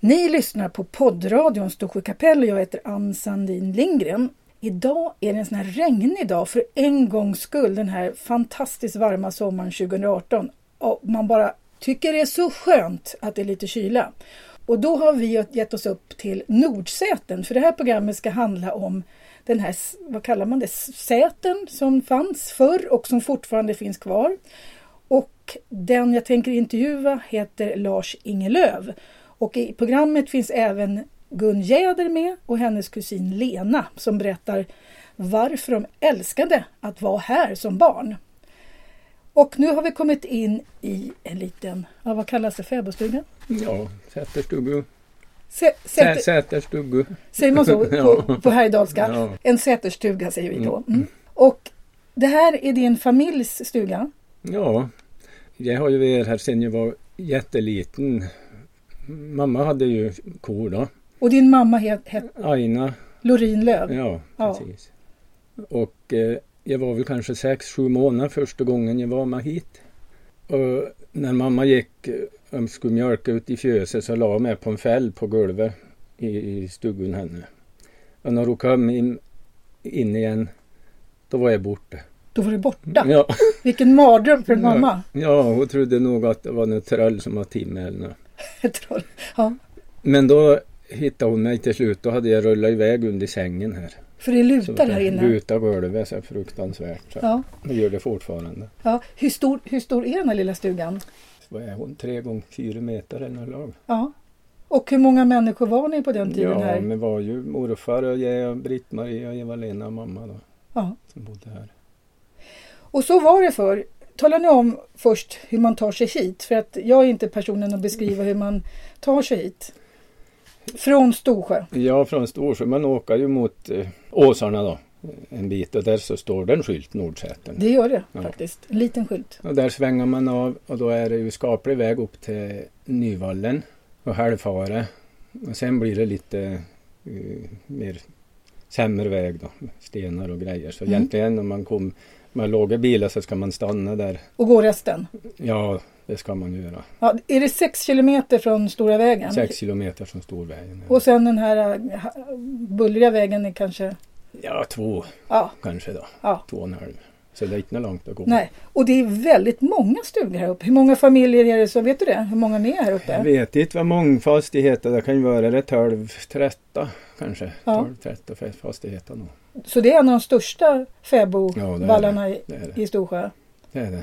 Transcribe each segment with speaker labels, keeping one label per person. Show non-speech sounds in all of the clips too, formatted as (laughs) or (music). Speaker 1: Ni lyssnar på poddradion Storsjö kapell och jag heter Ann Sandin Lindgren. Idag är det en sån här regnig dag för en gångs skull den här fantastiskt varma sommaren 2018. Och man bara tycker det är så skönt att det är lite kyla. Och då har vi gett oss upp till Nordsäten för det här programmet ska handla om den här, vad kallar man det, säten som fanns förr och som fortfarande finns kvar. Och den jag tänker intervjua heter Lars Ingelöv. Och i programmet finns även Gun Jäder med och hennes kusin Lena som berättar varför de älskade att vara här som barn. Och nu har vi kommit in i en liten, ja, vad kallas det, fäbodstuga?
Speaker 2: Ja, säterstugu.
Speaker 1: Sä,
Speaker 2: Sä,
Speaker 1: säter,
Speaker 2: säterstugu.
Speaker 1: säger man
Speaker 2: (laughs)
Speaker 1: så på,
Speaker 2: Ja.
Speaker 1: på härjedalska?
Speaker 2: Ja.
Speaker 1: En säterstuga säger vi då. Mm. Och det här är din familjs stuga.
Speaker 2: Ja, jag har ju varit här sedan jag var jätteliten. Mamma hade ju kor då.
Speaker 1: Och din mamma het- hette
Speaker 2: Aina,
Speaker 1: Lorin Löv.
Speaker 2: ja
Speaker 1: Ja.
Speaker 2: precis. Och eh, jag var väl kanske sex, sju månader första gången jag var med hit. Och när mamma gick eh, om skulle mjölka ut i fjöset så la jag mig på en fäll på golvet i, i stugan henne. Och när hon kom in, in igen, då var jag borta.
Speaker 1: Då var du borta.
Speaker 2: Ja.
Speaker 1: Vilken mardröm för en
Speaker 2: Ja.
Speaker 1: mamma.
Speaker 2: Ja, hon trodde nog att det var något troll som var timme eller något.
Speaker 1: Jag tror. Ja.
Speaker 2: Men då hittade hon mig till slut. Då hade jag rullat iväg under sängen här.
Speaker 1: För det
Speaker 2: Så
Speaker 1: lutar
Speaker 2: att
Speaker 1: här
Speaker 2: jag
Speaker 1: inne.
Speaker 2: Lutar golvet så här fruktansvärt. Så.
Speaker 1: Ja,
Speaker 2: Det gör det fortfarande.
Speaker 1: ja. Hur, stor, hur stor är den här lilla stugan?
Speaker 2: Vad är hon? Tre gånger fyra meter eller något lag?
Speaker 1: Ja. Och hur många människor var ni på den tiden
Speaker 2: Ja,
Speaker 1: här?
Speaker 2: men var ju morfar och jag, och Britt-Marie och Eva-Lena och mamma då.
Speaker 1: Ja.
Speaker 2: Som bodde här.
Speaker 1: Och så var det för. Tala nu om först hur man tar sig hit. För att jag är inte personen att beskriva hur man tar sig hit. Från Storsjö.
Speaker 2: Ja, från Storsjö. Man åker ju mot eh, Åsarna då. En bit och där så står det en skylt, Nordsätern.
Speaker 1: Det gör det
Speaker 2: Ja.
Speaker 1: faktiskt. En liten skylt.
Speaker 2: Och där svänger man av och då är det ju skaplig väg upp till Nyvallen och Hälvfare. Och sen blir det lite eh, mer sämre väg då, stenar och grejer. Så
Speaker 1: Mm.
Speaker 2: egentligen om man kom med låga bilar så ska man stanna där.
Speaker 1: Och går resten.
Speaker 2: Ja, det ska man göra.
Speaker 1: Ja, är det sex kilometer från Stora vägen?
Speaker 2: Sex kilometer från Storvägen.
Speaker 1: Och sen den här äh, ha- bullriga vägen är kanske...
Speaker 2: Ja, två
Speaker 1: Ja,
Speaker 2: kanske då.
Speaker 1: ja.
Speaker 2: Två och en halv. Så det är inte långt att gå.
Speaker 1: Nej, och det är väldigt många stugor här uppe. Hur många familjer är det som, vet du det? Hur många ni är här
Speaker 2: Jag
Speaker 1: uppe?
Speaker 2: vet inte vad mångfastigheter det kan ju vara. Det är 12, 13 kanske.
Speaker 1: Ja.
Speaker 2: 12, 13 fastigheter nog.
Speaker 1: Så det är en av de största
Speaker 2: Ja, det är
Speaker 1: fäbodvallarna i,
Speaker 2: Det är det.
Speaker 1: i Storsjö.
Speaker 2: det, är det.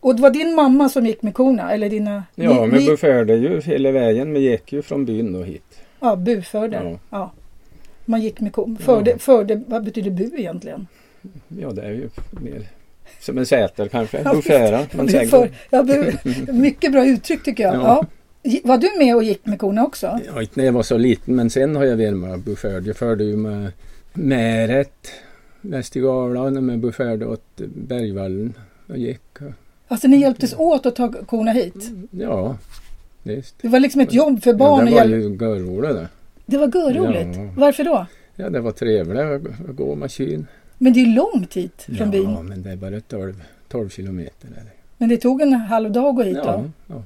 Speaker 1: Och det var din mamma som gick med korna, eller dina...
Speaker 2: Ja,
Speaker 1: ni-
Speaker 2: men
Speaker 1: ni-
Speaker 2: beförde ju hela vägen. Vi gick ju från byn då hit.
Speaker 1: ja, buförde. Ja.
Speaker 2: Ja.
Speaker 1: Man gick med kon. Förde,
Speaker 2: Ja.
Speaker 1: förde, vad betyder bu egentligen?
Speaker 2: ja, det är ju mer som en säter kanske.
Speaker 1: Ja, visst.
Speaker 2: Beföra. Man säger.
Speaker 1: Buför, ja, bu, (laughs) mycket bra uttryck tycker jag. Ja.
Speaker 2: Ja.
Speaker 1: Gi- Var du med och gick med korna också?
Speaker 2: Ja, inte när jag var så liten, men sen har jag väl med beförd. Jag förde ju med Märet, Västergavla, när man beförde åt Bergvallen och gick.
Speaker 1: Alltså ni hjälptes åt att ta korna hit?
Speaker 2: Ja, visst.
Speaker 1: Det var liksom ett jobb för
Speaker 2: Ja,
Speaker 1: barn
Speaker 2: det
Speaker 1: att
Speaker 2: var
Speaker 1: hjälpa-
Speaker 2: ju görroligt det.
Speaker 1: Det var görroligt.
Speaker 2: Ja.
Speaker 1: Varför då?
Speaker 2: Ja, det var trevligt att gå med kyn.
Speaker 1: Men det är långt hit från
Speaker 2: Ja,
Speaker 1: byn.
Speaker 2: men det är bara 12, 12 kilometer. Eller?
Speaker 1: Men det tog en halv dag att gå hit då.
Speaker 2: Ja, ja.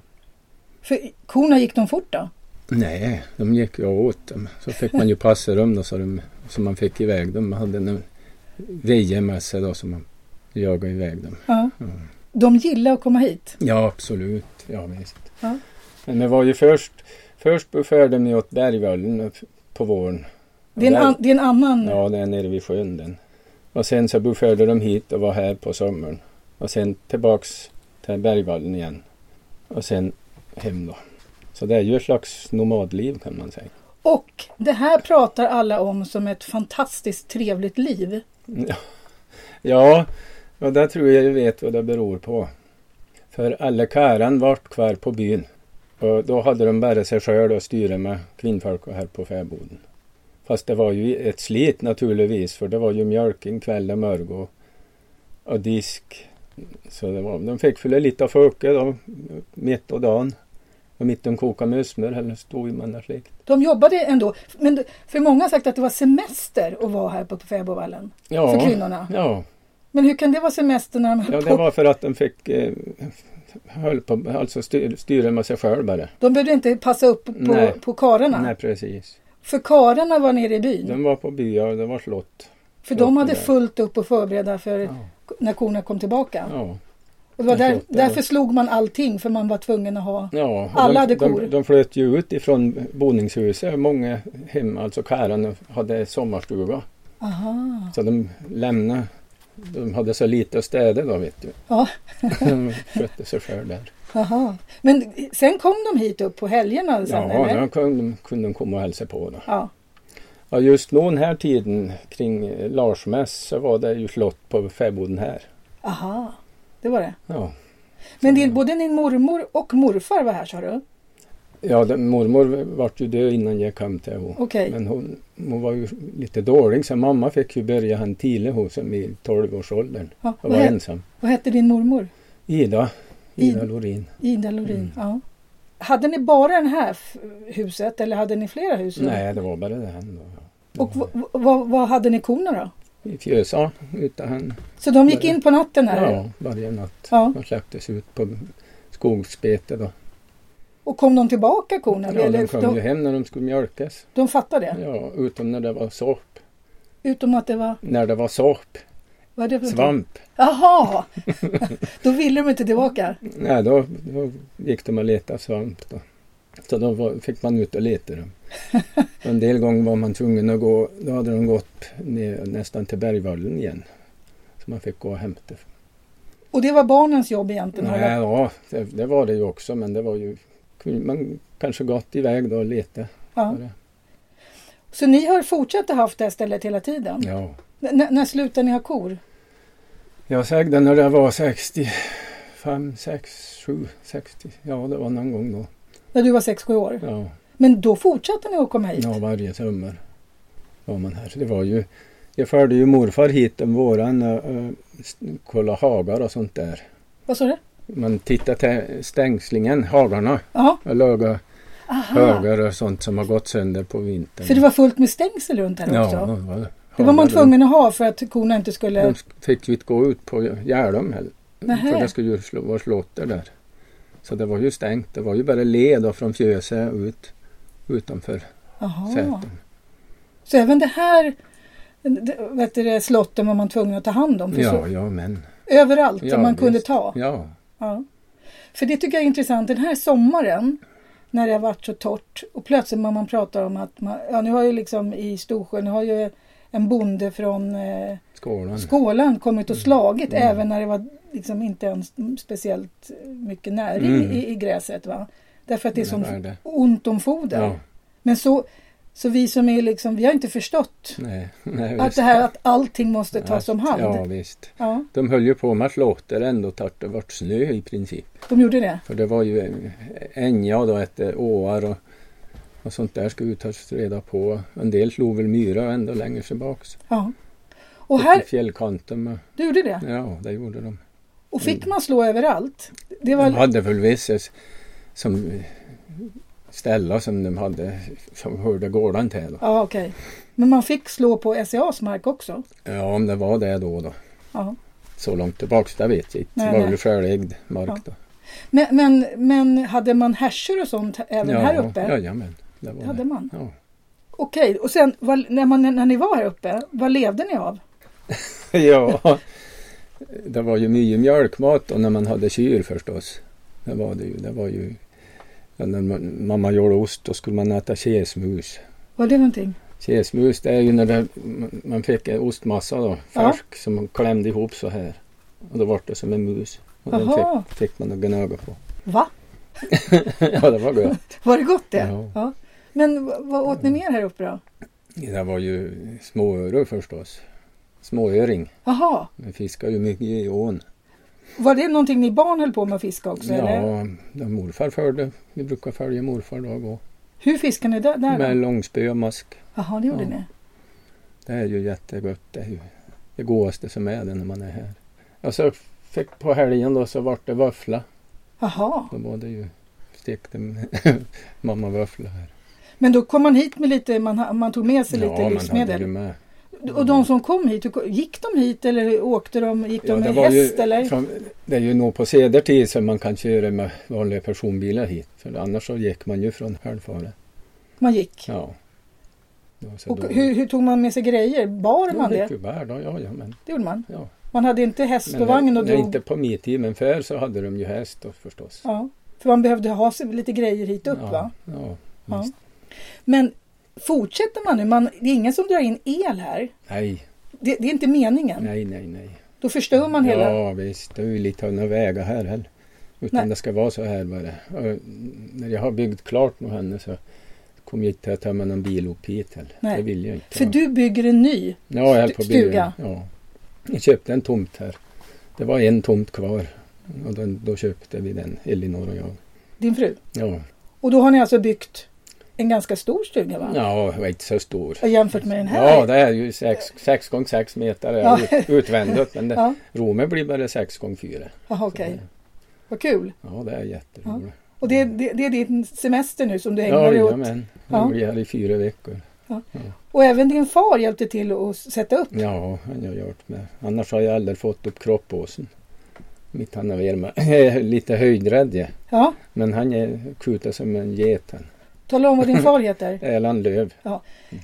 Speaker 1: För korna gick de fort då?
Speaker 2: Nej, de gick jag åt dem. Så fick man ju passa dem då så, de, så man fick iväg dem. Man hade en veje med sig E då som man jagade iväg dem.
Speaker 1: Ja.
Speaker 2: Ja.
Speaker 1: De gillade att komma hit.
Speaker 2: Ja, absolut. Ja, visst.
Speaker 1: Ja.
Speaker 2: Men det var ju först, först beförde mig åt Bergvallen på våren.
Speaker 1: Det är en,
Speaker 2: Där-
Speaker 1: an, det är en annan...
Speaker 2: Ja, det är nere vid sjön den. Och sen så beförde de hit och var här på sommaren. Och sen tillbaks till Bergvallen igen. Och sen hem då. Så det är ju ett slags nomadliv kan man säga.
Speaker 1: Och det här pratar alla om som ett fantastiskt trevligt liv.
Speaker 2: Ja. Ja, och där tror jag jag vet vad det beror på. För alla karlarna vart kvar på byn. Och då hade de bara sig själv att styra med kvinnfolk och här på fäboden. Fast det var ju ett slit naturligtvis för det var ju mjölken kväll och mörg och, och disk. Så det var, de fick väl lite av folket då, mitt och dagen. Och mitt de kokade musslor eller stod i mannarslikt.
Speaker 1: De jobbade ändå. Men för många har sagt att det var semester att vara här på Fäbodvallen. För
Speaker 2: Ja,
Speaker 1: kvinnorna.
Speaker 2: ja,
Speaker 1: Men hur kan det vara semester när de höll
Speaker 2: ja, det
Speaker 1: på?
Speaker 2: var för att de fick eh, höll på, alltså styr, styrde med sig själv bara.
Speaker 1: De behövde inte passa upp på,
Speaker 2: Nej.
Speaker 1: på kararna.
Speaker 2: Nej, precis.
Speaker 1: För kararna var nere i byn.
Speaker 2: De var på byar och det var slott.
Speaker 1: för de hade
Speaker 2: där.
Speaker 1: fullt upp att förbereda för
Speaker 2: Ja.
Speaker 1: när korna kom tillbaka.
Speaker 2: Ja.
Speaker 1: Och det var
Speaker 2: det är
Speaker 1: där,
Speaker 2: klart, det var-
Speaker 1: därför slog man allting för man var tvungen att ha.
Speaker 2: Ja, och
Speaker 1: Alla
Speaker 2: de,
Speaker 1: hade kor.
Speaker 2: De, de flöt ju ut ifrån boningshuset. Många hem, alltså karlarna, hade sommarstuga.
Speaker 1: Aha.
Speaker 2: Så de lämnade. De hade så lite att städa då vet du.
Speaker 1: Ja.
Speaker 2: (laughs) De skötte sig själv där.
Speaker 1: Aha. Men sen kom de hit upp på helgerna sen
Speaker 2: ja,
Speaker 1: eller?
Speaker 2: de kunde, kunde de komma och hälsa på. Då.
Speaker 1: Ja.
Speaker 2: Ja, just någon här tiden kring eh, Larsmäss så var det ju slott på fäboden här.
Speaker 1: Aha. Det var det.
Speaker 2: Ja,
Speaker 1: Men
Speaker 2: Mm.
Speaker 1: din, både din mormor och morfar var här sa du?
Speaker 2: ja det, mormor vart ju död innan jag kom till henne.
Speaker 1: Okej.
Speaker 2: Men hon, hon var ju lite dålig så mamma fick ju börja han tidigt hos henne i 12-årsåldern.
Speaker 1: Ja.
Speaker 2: Och
Speaker 1: Vad,
Speaker 2: var
Speaker 1: he-
Speaker 2: ensam.
Speaker 1: vad hette din mormor?
Speaker 2: Ida, Ida
Speaker 1: Id-
Speaker 2: Lorin.
Speaker 1: Ida Lorin.
Speaker 2: Mm.
Speaker 1: Ja. Hade ni bara det här f- huset eller hade ni flera hus?
Speaker 2: Nej, det var bara det han då. ja.
Speaker 1: Och v- v- vad- vad hade ni korna då?
Speaker 2: I fjösa utan han.
Speaker 1: Så de gick in på natten här?
Speaker 2: Ja, varje natt.
Speaker 1: Ja.
Speaker 2: De släpptes ut på skogsbete då.
Speaker 1: Och kom de tillbaka korna?
Speaker 2: Ja,
Speaker 1: eller
Speaker 2: de kom ju
Speaker 1: de,
Speaker 2: hem när de skulle mjölkas.
Speaker 1: de fattade det?
Speaker 2: Ja, utom när det var sopp.
Speaker 1: Utom att det var...
Speaker 2: När det var sopp,
Speaker 1: Vad är det för någonting?
Speaker 2: svamp.
Speaker 1: Jaha! (laughs) då ville de inte tillbaka?
Speaker 2: Nej, då, då gick de och letade svamp då. Så då var, fick man ut och leta dem. Och En del gånger var man tvungen att gå, då hade de gått ner, nästan till bergvallen igen. Så man fick gå och hämta.
Speaker 1: Och det var barnens jobb egentligen?
Speaker 2: Nej,
Speaker 1: eller?
Speaker 2: ja, det, det var det ju också men det var ju, man kanske gått iväg då och letat.
Speaker 1: Ja.
Speaker 2: var det.
Speaker 1: Så ni har fortsatt att haft det här stället hela tiden?
Speaker 2: Ja.
Speaker 1: N- när slutade ni ha kor?
Speaker 2: Jag sägde när det var 65, 6, 7, 60. Ja, det var någon gång då.
Speaker 1: När du var 6-7 år?
Speaker 2: Ja.
Speaker 1: Men då fortsatte ni att komma hit?
Speaker 2: Ja, varje sommar var man här. Det var ju, jag förde ju morfar hit om våren och eh, s- kolla hagar och sånt där.
Speaker 1: Vad sa du?
Speaker 2: Man tittade till stängslingen, hagarna
Speaker 1: Ja.
Speaker 2: och laga
Speaker 1: Aha.
Speaker 2: högar och sånt som har gått sönder på vintern.
Speaker 1: Ah. För det var fullt med stängsel runt här
Speaker 2: ja,
Speaker 1: också?
Speaker 2: det var,
Speaker 1: Det var man
Speaker 2: hagar.
Speaker 1: tvungen att ha för att korna inte
Speaker 2: De
Speaker 1: skulle...
Speaker 2: fick ju inte gå ut på Gärdom heller.
Speaker 1: Nähä.
Speaker 2: För det skulle ju slå- vara slåtter där. Så det var ju stängt. Det var ju bara led då från Fjöse ut utanför
Speaker 1: Aha.
Speaker 2: säten.
Speaker 1: Så även det här det- vet du, det, slotten var man tvungen att ta hand om? För
Speaker 2: Ja,
Speaker 1: så,
Speaker 2: ja men.
Speaker 1: överallt
Speaker 2: Ja,
Speaker 1: som man kunde
Speaker 2: visst.
Speaker 1: ta?
Speaker 2: Ja,
Speaker 1: Ja. För det tycker jag är intressant. Den här sommaren när det har varit så torrt och plötsligt när man pratar om att man, ja, nu har ju liksom i Storsjön, nu har ju en bonde från eh,
Speaker 2: skålen.
Speaker 1: Skåland kommit och slagit
Speaker 2: Mm.
Speaker 1: även när det var liksom inte ens speciellt mycket näring
Speaker 2: Mm.
Speaker 1: i, i gräset. Va? Därför att det är
Speaker 2: Men
Speaker 1: så
Speaker 2: vad är det?
Speaker 1: ont om foder.
Speaker 2: Ja,
Speaker 1: Men så, så vi som är liksom, vi har inte förstått
Speaker 2: nej, nej
Speaker 1: att
Speaker 2: visst.
Speaker 1: det här att allting måste tas om hand.
Speaker 2: Ja, visst.
Speaker 1: Ja,
Speaker 2: De höll ju på med att låta det ändå tills det vart snö i princip.
Speaker 1: de gjorde det.
Speaker 2: För det var ju eh, ängar då, ett eh, åar och, och sånt där skulle ju tas reda på. En del slog väl myra ändå längre tillbaks.
Speaker 1: Ja. Och
Speaker 2: Upp I
Speaker 1: här,
Speaker 2: fjällkanten. Med,
Speaker 1: du gjorde det.
Speaker 2: ja, det gjorde de.
Speaker 1: Och
Speaker 2: Mm.
Speaker 1: fick man slå överallt? Det var,
Speaker 2: De hade väl vissa s- som eh, ställa som de hade som hörde gården till. Då.
Speaker 1: ja, okej. Men man fick slå på SCAs mark också?
Speaker 2: Ja, om det var det då. då.
Speaker 1: Ja.
Speaker 2: Så långt tillbaks, det vet jag inte.
Speaker 1: Nej,
Speaker 2: Det var
Speaker 1: nej.
Speaker 2: väl självägd mark
Speaker 1: Ja.
Speaker 2: då.
Speaker 1: Men, men, men hade man härsor och sånt även här uppe?
Speaker 2: Jajamän, det var
Speaker 1: Det
Speaker 2: det.
Speaker 1: hade man.
Speaker 2: Ja.
Speaker 1: Okej, och sen vad- när, man, när ni var här uppe, vad levde ni av?
Speaker 2: ja, (laughs) det var ju mycket mjölkmat och när man hade kyr förstås. Det var det ju. Det var ju ja, när man, mamma gjorde ost då skulle man äta kesmus.
Speaker 1: Var det någonting?
Speaker 2: Kesmus det är ju när det, man- man fick en ostmassa då,
Speaker 1: Ja.
Speaker 2: färsk, som man klämde ihop så här. Och då var det som en mus. Och den
Speaker 1: Jaha,
Speaker 2: fick, fick man att gnaga på. (laughs)
Speaker 1: va?
Speaker 2: ja, det var gott.
Speaker 1: Var det gott det?
Speaker 2: Ja. Mm.
Speaker 1: Men v- vad åt ni mer här uppe då?
Speaker 2: Det var ju småöre förstås. Småöring.
Speaker 1: Jaha,
Speaker 2: Vi fiskade ju mycket i ån.
Speaker 1: var det någonting ni barn höll på med att fiska också? Eller?
Speaker 2: Ja, det morfar förde. Vi brukar följa morfar då och gå.
Speaker 1: Hur fiskar ni där? där
Speaker 2: Med
Speaker 1: då?
Speaker 2: långspö och mask.
Speaker 1: Jaha, det gjorde
Speaker 2: Ja.
Speaker 1: ni?
Speaker 2: Det är ju jättegott. Det är ju det godaste som är det när man är här. Och så fick på helgen då så vart det våffla.
Speaker 1: Jaha,
Speaker 2: Då var det ju stekte m- (laughs) mamma våffla här.
Speaker 1: men då kom man hit med lite, man, ha- man tog med sig lite
Speaker 2: man hade ju
Speaker 1: livsmedel?
Speaker 2: med.
Speaker 1: Och de som kom hit, hur- gick de hit eller åkte de, gick de
Speaker 2: Ja,
Speaker 1: med
Speaker 2: var
Speaker 1: häst
Speaker 2: ju,
Speaker 1: eller?
Speaker 2: Från, det är ju nog på sedertid som man kan köra med vanliga personbilar hit. För annars så gick man ju från Hälfare.
Speaker 1: Man gick.
Speaker 2: Ja. Ja, så
Speaker 1: och
Speaker 2: då-
Speaker 1: hur, hur tog man med sig grejer? Bar
Speaker 2: då
Speaker 1: man
Speaker 2: gick
Speaker 1: det?
Speaker 2: ju bär då, ja, ja, men,
Speaker 1: Det gjorde man.
Speaker 2: ja.
Speaker 1: Man hade inte häst
Speaker 2: Men
Speaker 1: och vagn och
Speaker 2: nej,
Speaker 1: drog.
Speaker 2: inte på min tid, men förr så hade de ju häst då, förstås.
Speaker 1: Ja, för man behövde ha sig lite grejer hit upp
Speaker 2: ja,
Speaker 1: va?
Speaker 2: Ja,
Speaker 1: Ja.
Speaker 2: visst.
Speaker 1: Men fortsätter man nu, man, det är ingen som drar in el här.
Speaker 2: Nej,
Speaker 1: Det, det är inte meningen.
Speaker 2: nej, nej, nej.
Speaker 1: Då förstör man hela...
Speaker 2: Ja, visst. Det är ju lite av några vägar här heller. Utan
Speaker 1: Nej.
Speaker 2: det ska vara så här bara. Och när jag har byggt klart med henne så kommer jag inte att ta med någon bil upp hit heller.
Speaker 1: Nej.
Speaker 2: Det vill jag inte.
Speaker 1: För
Speaker 2: va.
Speaker 1: du bygger en ny.
Speaker 2: Ja, jag höll på att
Speaker 1: Stuga.
Speaker 2: bygga. Ja. Jag köpte en tomt här. Det var en tomt kvar. Och den, då köpte vi den, Elinor och jag.
Speaker 1: Din fru.
Speaker 2: Ja,
Speaker 1: Och då har ni alltså byggt en ganska stor stuga va?
Speaker 2: ja jag var inte så stor.
Speaker 1: Jämfört med den här.
Speaker 2: Ja, det är ju 6 gånger 6 meter är
Speaker 1: Ja.
Speaker 2: ut, utvändigt. Men det,
Speaker 1: Ja,
Speaker 2: rummet blir bara 6 gånger 4.
Speaker 1: aha, okej. Vad kul.
Speaker 2: Ja, det är jätteroligt.
Speaker 1: Och det, det, det är din semester nu som du ägnar
Speaker 2: Ja,
Speaker 1: dig
Speaker 2: ja,
Speaker 1: åt.
Speaker 2: men
Speaker 1: Ja.
Speaker 2: Jag blir här i fyra veckor.
Speaker 1: Och även din far hjälpte till att sätta upp.
Speaker 2: Ja, han har gjort med. Annars har jag aldrig fått upp kroppåsen. Mitt han är med. (laughs) Jag är lite höjdrädd jag.
Speaker 1: Ja,
Speaker 2: Men han är skjuter som en get. han.
Speaker 1: tala om vad
Speaker 2: (laughs)
Speaker 1: din far heter.
Speaker 2: Erland Löv.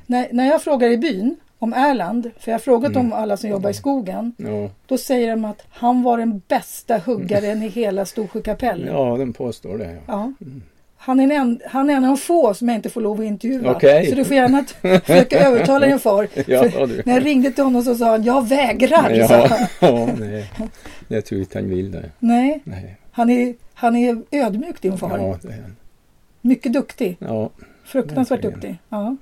Speaker 1: När, när jag frågar i byn om Erland, för jag har frågat
Speaker 2: Mm.
Speaker 1: om alla som jobbar i skogen,
Speaker 2: Ja,
Speaker 1: då säger de att han var den bästa huggaren i hela Storsjö kapell.
Speaker 2: ja den påstår det.
Speaker 1: (laughs)
Speaker 2: Ja.
Speaker 1: Ja. Han, är en, en- han är en av de få som jag inte får lov att intervjua.
Speaker 2: Okej.
Speaker 1: Så du får gärna t- försöka övertala din far. För
Speaker 2: Ja, du.
Speaker 1: när jag ringde till honom så sa han, jag vägrar. Sa han.
Speaker 2: Ja, ja, nej. Jag tror inte han vill det.
Speaker 1: Nej,
Speaker 2: Nej.
Speaker 1: han är, han är ödmjuk din far.
Speaker 2: Ja, det är han.
Speaker 1: Mycket duktig.
Speaker 2: Ja,
Speaker 1: Fruktansvärt
Speaker 2: Verkligen.
Speaker 1: duktig. Ja.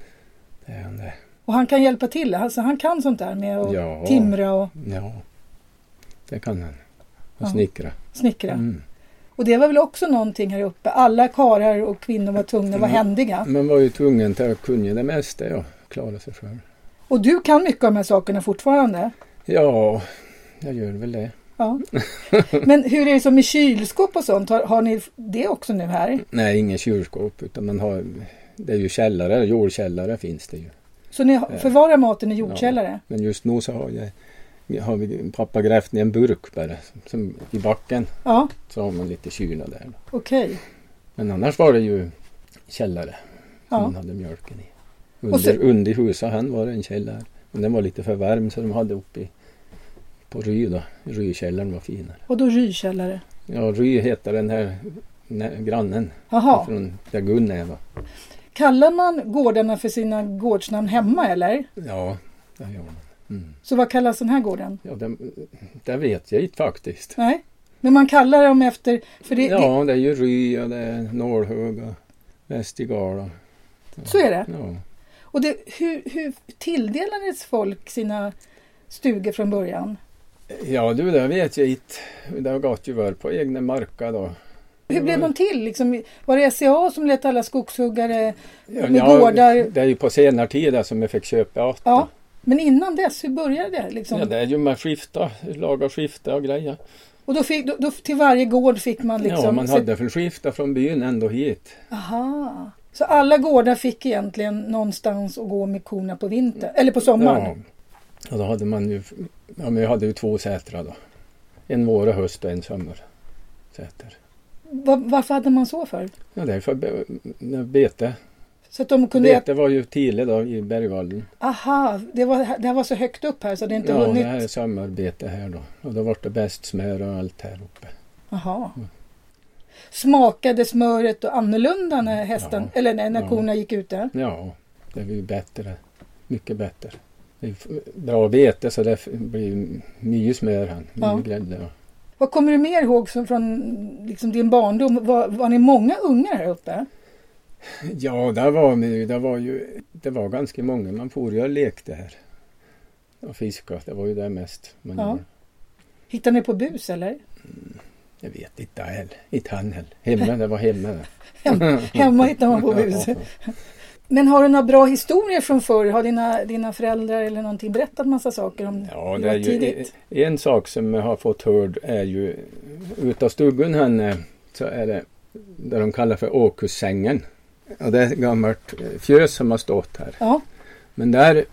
Speaker 2: det är han det.
Speaker 1: Och han kan hjälpa till. Alltså, han kan sånt där med att
Speaker 2: Ja.
Speaker 1: timra och
Speaker 2: Ja, det kan han.
Speaker 1: Ja.
Speaker 2: Och snickra.
Speaker 1: snickra.
Speaker 2: Mm.
Speaker 1: Och det var väl också någonting här uppe. Alla karlar och kvinnor var tvungna att vara
Speaker 2: Mm.
Speaker 1: händiga.
Speaker 2: Men var ju tvungen till att kunna det mesta ja. Klara sig själv.
Speaker 1: Och du kan mycket av de här sakerna fortfarande.
Speaker 2: Ja, jag gör väl det. (laughs)
Speaker 1: Ja. Men hur är det som med kylskåp och sånt? Har, har ni det också nu här?
Speaker 2: Nej, ingen kylskåp utan man har det är ju källare, jordkällare finns det ju.
Speaker 1: Så ni
Speaker 2: Eh.
Speaker 1: har- förvarar maten i jordkällare?
Speaker 2: Men just nu så har jag har vi, pappa grävt ner en burk bara som, i backen.
Speaker 1: Ja,
Speaker 2: Så har man lite kyla där.
Speaker 1: okej.
Speaker 2: Men annars var det ju källare som
Speaker 1: Ja.
Speaker 2: man hade mjölken i.
Speaker 1: Och så-
Speaker 2: Under, under huset han var det en källare. Men den var lite för varm så de hade uppe i, på Ry då. Rykällaren var finare.
Speaker 1: Och då ryrkällare?
Speaker 2: Ja, Ry heter den här nä- grannen
Speaker 1: Jaha.
Speaker 2: från där Gun är. va.
Speaker 1: Kallar man gårdarna för sina gårdsnamn hemma eller?
Speaker 2: Ja, det gör man. Mm.
Speaker 1: Så vad kallas den här gården?
Speaker 2: Ja, det, det vet jag inte faktiskt.
Speaker 1: Nej. Men man kallar dem efter... För det, det,
Speaker 2: ja, det är ju Ry och det är Nålhög och Västergal. och-
Speaker 1: så är det.
Speaker 2: Ja.
Speaker 1: Och det, hur, hur tilldelades folk sina stugor från början?
Speaker 2: ja, du det vet jag inte. Det har gått ju var på egna marka då.
Speaker 1: Hur blev de till? Liksom, var det SCA som lät alla skogshuggare?
Speaker 2: Ja,
Speaker 1: Med gårdar?
Speaker 2: Det är ju på senare tid där som jag fick köpa åt.
Speaker 1: Ja. Men innan dess, hur började det? Liksom?
Speaker 2: Ja, det är ju med skifta, laga skifta och grejer.
Speaker 1: Och då fick, då, då, till varje gård fick man liksom...
Speaker 2: ja, man
Speaker 1: så-
Speaker 2: hade väl skifta från byn ändå hit.
Speaker 1: Aha. Så alla gårdar fick egentligen någonstans att gå med korna på vintern, eller på sommaren?
Speaker 2: Ja. Och då hade man ju, ja men jag hade ju två sätrar då. En vår och höst och en sommarsäter.
Speaker 1: Va, varför hade man så för?
Speaker 2: Ja, det är för be- bete.
Speaker 1: Så att de kunde... äta-
Speaker 2: Bete var ju Tile då i Bergvallen.
Speaker 1: Aha, det, var, det här var så högt upp här så det inte
Speaker 2: Ja, det
Speaker 1: hunnit...
Speaker 2: här är sommarbete här då. Och då vart det bäst smör och allt här uppe.
Speaker 1: Aha.
Speaker 2: Mm.
Speaker 1: Smakade smöret då annorlunda
Speaker 2: Mm.
Speaker 1: när hästen,
Speaker 2: Ja.
Speaker 1: eller nej, när
Speaker 2: Ja.
Speaker 1: korna gick ute?
Speaker 2: Ja, det är ju bättre. Mycket bättre. Det är ju f- bra bete så det f- blir ju mycket smör här. Mycket
Speaker 1: Ja.
Speaker 2: grädde. och-
Speaker 1: Vad kommer du mer ihåg som från liksom, din barndom? Var, var ni många ungar här uppe?
Speaker 2: Ja, där var man ju, där var ju, det var ganska många. Man for ju och lekte här. Och fiska, det var ju det mest man
Speaker 1: Ja.
Speaker 2: gjorde.
Speaker 1: Hittade ni på bus eller?
Speaker 2: Jag vet inte heller. Inte han heller. Hemma, det var hemma.
Speaker 1: (laughs)
Speaker 2: det.
Speaker 1: Hemma hittade man på
Speaker 2: (laughs)
Speaker 1: bus. Men har du några bra historier från förr? Har dina, dina föräldrar eller någonting berättat massa saker om
Speaker 2: Ja,
Speaker 1: det
Speaker 2: det är
Speaker 1: var
Speaker 2: ju,
Speaker 1: tidigt?
Speaker 2: en sak som jag har fått hörd är ju utav stugan henne så är det det de kallar för Åkussängen. Och det är ett gammalt eh, fjös som har stått här.
Speaker 1: Ja,
Speaker 2: Men där eh,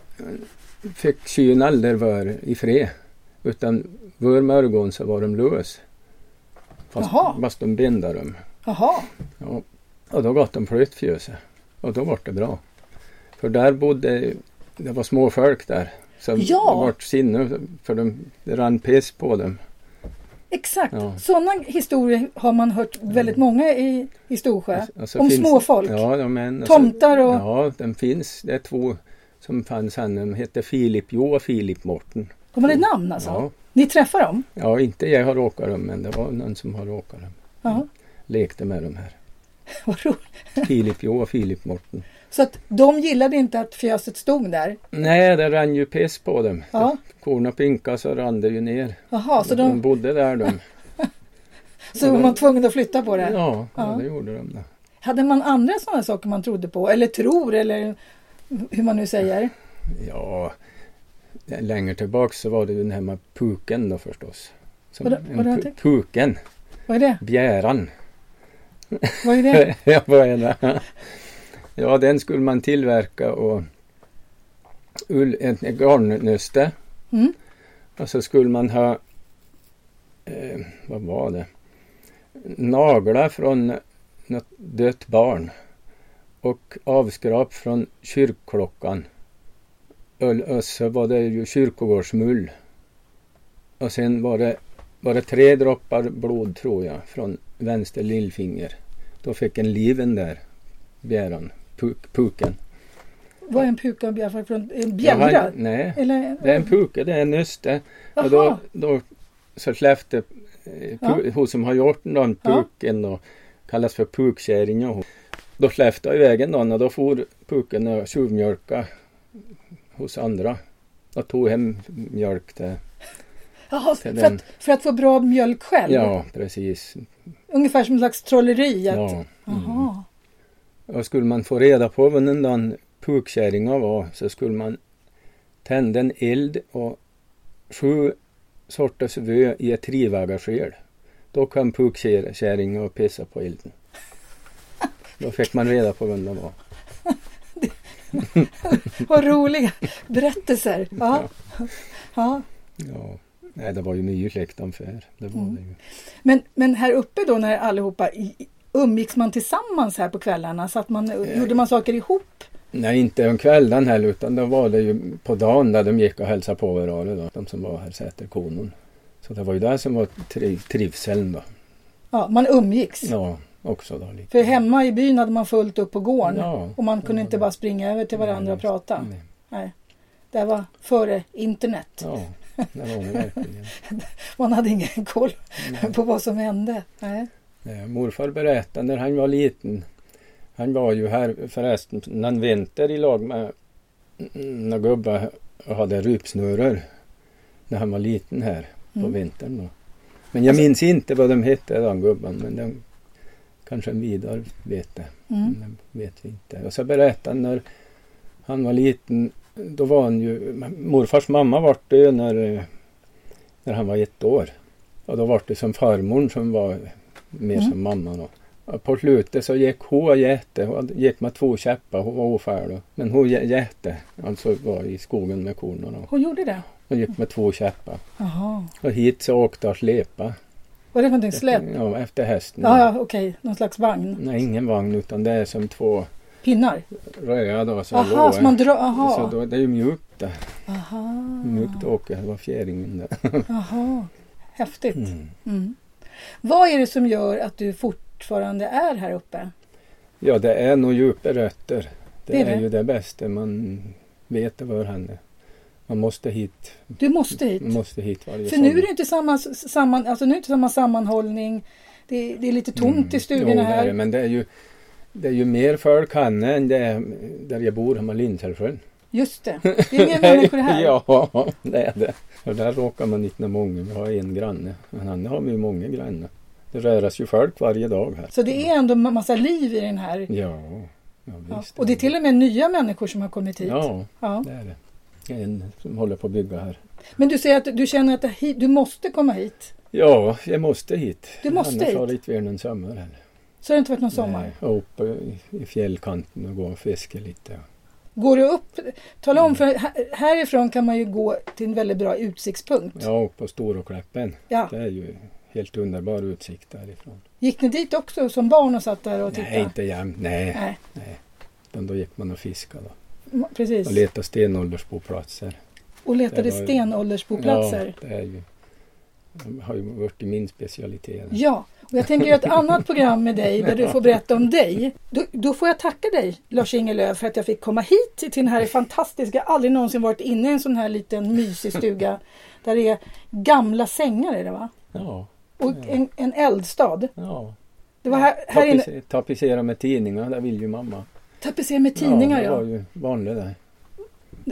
Speaker 2: fick syn aldrig var i fred. Utan var morgon så var de lös. Fast,
Speaker 1: Jaha.
Speaker 2: fast de bindade dem.
Speaker 1: Jaha,
Speaker 2: Ja. Och då gav de flyttfjöset. Och då var det bra. För där bodde, det var småfolk där. Så
Speaker 1: Ja.
Speaker 2: det var sinne för de, det rann piss på dem.
Speaker 1: exakt.
Speaker 2: Ja. Mm.
Speaker 1: Sådana historier har man hört väldigt många i, i Storsjö.
Speaker 2: Alltså
Speaker 1: Om
Speaker 2: finns-
Speaker 1: småfolk.
Speaker 2: Ja, de men,
Speaker 1: Tomtar och-
Speaker 2: Ja, den finns. Det är två som fanns. Han de hette Filip Jo och Filip Morten.
Speaker 1: De har ett namn alltså.
Speaker 2: Ja.
Speaker 1: Ni träffar dem?
Speaker 2: ja, inte jag har råkat dem men det var någon som har råkat dem.
Speaker 1: Ja,
Speaker 2: Lekte med dem här.
Speaker 1: (laughs) vad roligt.
Speaker 2: Filip Jo och Filip Morten.
Speaker 1: Så att de gillade inte att fjöset stod där?
Speaker 2: Nej, det rann ju piss på dem.
Speaker 1: Ja.
Speaker 2: Korna pinkade så rann det ju ner.
Speaker 1: Jaha, så
Speaker 2: de
Speaker 1: de,
Speaker 2: bodde där de.
Speaker 1: så var man tvungen att flytta på det?
Speaker 2: Ja, ja,
Speaker 1: Ja.
Speaker 2: det gjorde de. Då.
Speaker 1: Hade man andra sådana saker man trodde på? Eller tror eller hur man nu säger?
Speaker 2: Ja, längre tillbaks så var det ju den här med puken då förstås. Som
Speaker 1: Vadå-
Speaker 2: en
Speaker 1: vadå
Speaker 2: pu-
Speaker 1: jag tänkte?
Speaker 2: puken,
Speaker 1: Vad är det?
Speaker 2: bjäran. (laughs)
Speaker 1: Vad är det?
Speaker 2: ja, vad är det? ja, den skulle man tillverka och ull, ett garnnöste
Speaker 1: Mm.
Speaker 2: och så Alltså, skulle man ha, eh, vad var det, naglar från något dött barn och avskrap från kyrkklockan. Ull- Och så var det ju kyrkogårdsmull. Och sen var det, var det tre droppar blod tror jag från vänster lillfinger. Då fick en liven där, bjäran, puk, puken.
Speaker 1: Vad är en puka och bjäfra från? En
Speaker 2: Ja,
Speaker 1: bjällra?
Speaker 2: han- Nej,
Speaker 1: Eller?
Speaker 2: det är en puke, det är en nyste.
Speaker 1: Jaha,
Speaker 2: Och då, då så släppte eh, pu, hon som har gjort den
Speaker 1: Ja.
Speaker 2: puken och kallas för pukkärring. och hon- Då släppte jag iväg den och då for puken och tjuvmjölka hos andra. Och tog hem mjölk där.
Speaker 1: Jaha,
Speaker 2: till
Speaker 1: för,
Speaker 2: den.
Speaker 1: att, för att få bra mjölk själv?
Speaker 2: Ja, precis.
Speaker 1: Ungefär som en slags trolleri? Att,
Speaker 2: Ja. Mm.
Speaker 1: Jaha.
Speaker 2: Och skulle man få reda på vad den där pukkärringen var så skulle man tända en eld och sju sorters vö i ett trivägarsked. Då kom pukkärringen och pissa på elden. Då fick man reda på vem den var.
Speaker 1: Vad roliga berättelser! Ja. Ja.
Speaker 2: Ja. Nej, det var ju mycket släkten för. Det var
Speaker 1: Mm.
Speaker 2: det ju.
Speaker 1: Men, men här uppe då när allihopa i- umgicks man tillsammans här på kvällarna? Så att man,
Speaker 2: Eh.
Speaker 1: Gjorde man saker ihop?
Speaker 2: Nej, inte om kvällen heller utan då var det ju på dagen där de gick och hälsade på varandra. Då, de som var här Säterkonon. Så det var ju det som var triv, trivseln då.
Speaker 1: Ja, man umgicks.
Speaker 2: Ja, också då. Lite.
Speaker 1: För hemma i byn hade man fullt upp på gården
Speaker 2: Ja.
Speaker 1: och man kunde inte bara springa över till varandra och
Speaker 2: Nej,
Speaker 1: prata.
Speaker 2: nej.
Speaker 1: Nej. Det var före internet.
Speaker 2: Ja, det var hon verkligen.
Speaker 1: Man hade ingen (laughs) koll på vad som hände. Nej.
Speaker 2: Eh, Morfar berättade när han var liten. Han var ju här förresten någon vinter i lag med mm, några gubbar och hade rypsnurror. När han var liten här på
Speaker 1: Mm.
Speaker 2: vintern då. Men jag minns inte vad de hette de gubbarna men de kanske Vidar vet det.
Speaker 1: Mm.
Speaker 2: Men det vet vi inte. Och så berättade han när han var liten. Då var han ju, morfars mamma var död när, eh, när han var ett år. Och då var det som farmor som var mer
Speaker 1: Mm.
Speaker 2: som mamma då. Och på slutet så gick hon jätte, hon gick med två käppar, hon var ofärd då. Men hon jä- jätte, alltså var i skogen med korna då.
Speaker 1: Hon gjorde det?
Speaker 2: Hon gick med två käppar.
Speaker 1: Jaha.
Speaker 2: Och hit så åkte hon släpa.
Speaker 1: Var det för någonting? Släp?
Speaker 2: Ja, efter hästen.
Speaker 1: Ja, ja okej. Någon slags vagn?
Speaker 2: Nej, ingen vagn utan det är som två
Speaker 1: Pinnar?
Speaker 2: röda då. som
Speaker 1: Aha,
Speaker 2: låg.
Speaker 1: så man drar...
Speaker 2: Så
Speaker 1: Aha.
Speaker 2: då, det är ju mjukt det.
Speaker 1: Aha. Ah.
Speaker 2: Mjukt åker, det var fjäringen där.
Speaker 1: Aha. Häftigt. Mm. Vad är det som gör att du fortfarande är här uppe?
Speaker 2: Ja, det är nog djupa rötter. Det,
Speaker 1: Det är
Speaker 2: är
Speaker 1: det.
Speaker 2: ju det bästa man vet var henne. Man måste hit.
Speaker 1: Du måste hit.
Speaker 2: Man måste hit varje
Speaker 1: För nu är det inte samma, samman, alltså nu är det inte samma sammanhållning. Det är, det är lite tomt i
Speaker 2: Mm. jo,
Speaker 1: stugorna
Speaker 2: det är
Speaker 1: här.
Speaker 2: det, Men det är ju, det är ju mer folk han än det är där jag bor hemma i Lindsälvsjön.
Speaker 1: Just det. Det är inga
Speaker 2: (laughs)
Speaker 1: människor här.
Speaker 2: ja, det är det. Och där råkar man inte med många. Vi har en granne. Men han har vi många grannar. Det röras ju folk varje dag här.
Speaker 1: Så det är ändå en massa liv i den här.
Speaker 2: Ja, ja
Speaker 1: Ja.
Speaker 2: visst.
Speaker 1: Och det är till och med nya människor som har kommit hit.
Speaker 2: Ja,
Speaker 1: Ja.
Speaker 2: det är det. Det är En som håller på att bygga här.
Speaker 1: Men du säger att du känner att det hit, du måste komma hit.
Speaker 2: Ja, jag måste hit.
Speaker 1: Du måste
Speaker 2: Annars
Speaker 1: hit?
Speaker 2: har det inte varit någon sommar heller.
Speaker 1: Så har det inte varit någon sommar.
Speaker 2: Nej, och uppe i- i fjällkanten och gå och fiska lite.
Speaker 1: Går du upp, tala
Speaker 2: Mm.
Speaker 1: om för här- härifrån kan man ju gå till en väldigt bra utsiktspunkt.
Speaker 2: Ja, och på Storokläppen.
Speaker 1: Ja.
Speaker 2: Det är ju helt underbar utsikt därifrån.
Speaker 1: Gick ni dit också som barn och satt där och tittade?
Speaker 2: Nej, inte jämt. Nej,
Speaker 1: Nej,
Speaker 2: utan då gick man och fiskade då.
Speaker 1: m- precis.
Speaker 2: och letade stenåldersboplatser.
Speaker 1: Och letade
Speaker 2: Det var ju-
Speaker 1: stenåldersboplatser.
Speaker 2: Ja, det är ju, det har ju varit min specialitet.
Speaker 1: Ja, och jag tänker göra ett annat program med dig där du får berätta om dig. Då, då får jag tacka dig Lars-Inge Löf för att jag fick komma hit till den här fantastiska, jag har aldrig någonsin varit inne i en sån här liten mysig stuga där det är gamla sängar är det va?
Speaker 2: Ja,
Speaker 1: Och en, en eldstad.
Speaker 2: Mm. ja.
Speaker 1: Det var här, här inne,
Speaker 2: Tapetser, tapetsera med tidningar, det vill ju mamma.
Speaker 1: tapetser med tidningar
Speaker 2: ja. Det var
Speaker 1: ja.
Speaker 2: ju vanligt där.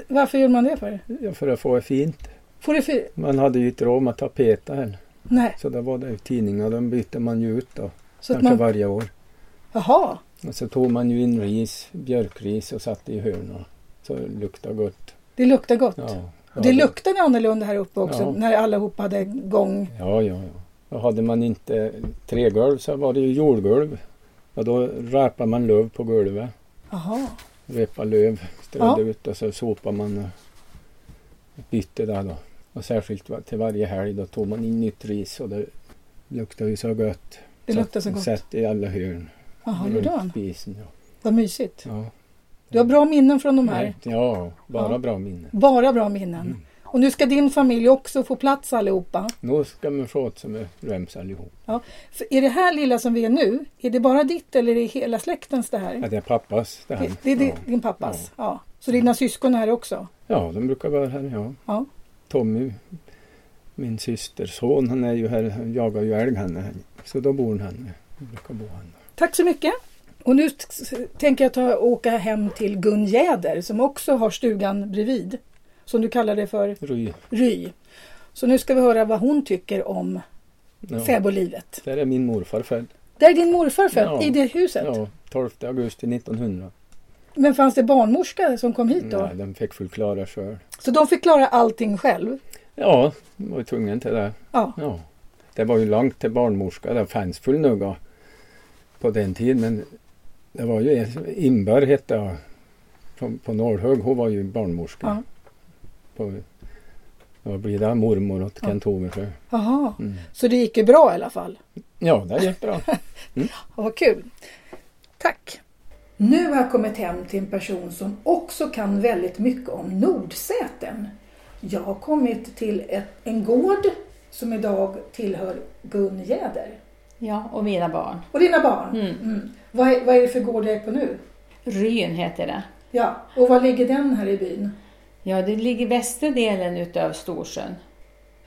Speaker 1: Varför gjorde man det för?
Speaker 2: Ja, för att få det fint.
Speaker 1: Får det för...
Speaker 2: Man hade ju inte råd med tapeter heller.
Speaker 1: Nej,
Speaker 2: Så det var det ju tidningar, de bytte man ju ut då.
Speaker 1: så att
Speaker 2: kanske
Speaker 1: man...
Speaker 2: varje år.
Speaker 1: Jaha,
Speaker 2: Och så tog man ju in ris, björkris och satte i hörn. och Så det luktade gott.
Speaker 1: det luktar gott.
Speaker 2: Ja,
Speaker 1: Och det luktade annorlunda här uppe också
Speaker 2: Ja.
Speaker 1: när allihopa hade gång.
Speaker 2: Ja, ja, ja. Och hade man inte trägolv så var det ju jordgolv. Och då rapade man löv på golvet.
Speaker 1: Jaha,
Speaker 2: Repa löv, strödde
Speaker 1: Ja.
Speaker 2: ut och så sopade man och bytte där då. Och särskilt va- till varje helg då tog man in nytt ris och det luktade ju så gött.
Speaker 1: det luktar så
Speaker 2: att-
Speaker 1: gott.
Speaker 2: Satt i alla hörn.
Speaker 1: Jaha,
Speaker 2: runt
Speaker 1: gjorde han?
Speaker 2: Spisen, ja.
Speaker 1: Vad mysigt.
Speaker 2: ja.
Speaker 1: Du har bra minnen från de här.
Speaker 2: Ja, bara
Speaker 1: Ja.
Speaker 2: bra minnen.
Speaker 1: Bara bra minnen.
Speaker 2: Mm.
Speaker 1: Och nu ska din familj också få plats allihopa.
Speaker 2: Nu ska man få åt sig med röms allihop.
Speaker 1: För är det här lilla som vi är nu, är det bara ditt eller är det hela släktens det här?
Speaker 2: Ja, det är pappas det här.
Speaker 1: Det, det är
Speaker 2: Ja.
Speaker 1: di- din pappas? Ja. Så dina syskon är här också?
Speaker 2: Ja, de brukar vara här, ja.
Speaker 1: Ja.
Speaker 2: Tommy, min systerson, han är ju här, han jagar ju älg han. är- Så då bor han här. Han brukar bo han.
Speaker 1: Tack så mycket. Och nu t- s- tänker jag ta, åka hem till Gun Jäder som också har stugan bredvid. Som du kallar det för
Speaker 2: Ry.
Speaker 1: Ry. Så nu ska vi höra vad hon tycker om
Speaker 2: Ja.
Speaker 1: fäbodlivet.
Speaker 2: Där är min morfar född.
Speaker 1: Där är din morfar född,
Speaker 2: Ja.
Speaker 1: i det huset.
Speaker 2: Ja, 12 augusti 1900.
Speaker 1: Men fanns det barnmorska som kom hit då?
Speaker 2: Nej, de fick förklara själv.
Speaker 1: Så de fick klara allting själv?
Speaker 2: Ja, de var ju tvungen till det.
Speaker 1: Ja.
Speaker 2: Ja. Det var ju långt till barnmorska. Det fanns full nugga på den tiden. Men det var ju Imber hette jag. På, på Norrhög. Hon var ju barnmorska.
Speaker 1: Ja.
Speaker 2: På, vad blir det? Mormor åt
Speaker 1: Ja.
Speaker 2: Kent Hoversjö.
Speaker 1: Jaha.
Speaker 2: Mm.
Speaker 1: Så det gick ju bra i alla fall.
Speaker 2: Ja, det gick bra.
Speaker 1: Ja, vad kul. Tack. Nu har jag kommit hem till en person som också kan väldigt mycket om Nordsäten. Jag har kommit till ett, en gård som idag tillhör Gun Jäder.
Speaker 3: Ja, och mina barn.
Speaker 1: Och dina barn. Mm. Vad, är, vad är det för gård jag är på nu?
Speaker 3: Ryn heter det.
Speaker 1: Ja, och var ligger den här i byn?
Speaker 3: Ja, det ligger västra delen utav Storsjön,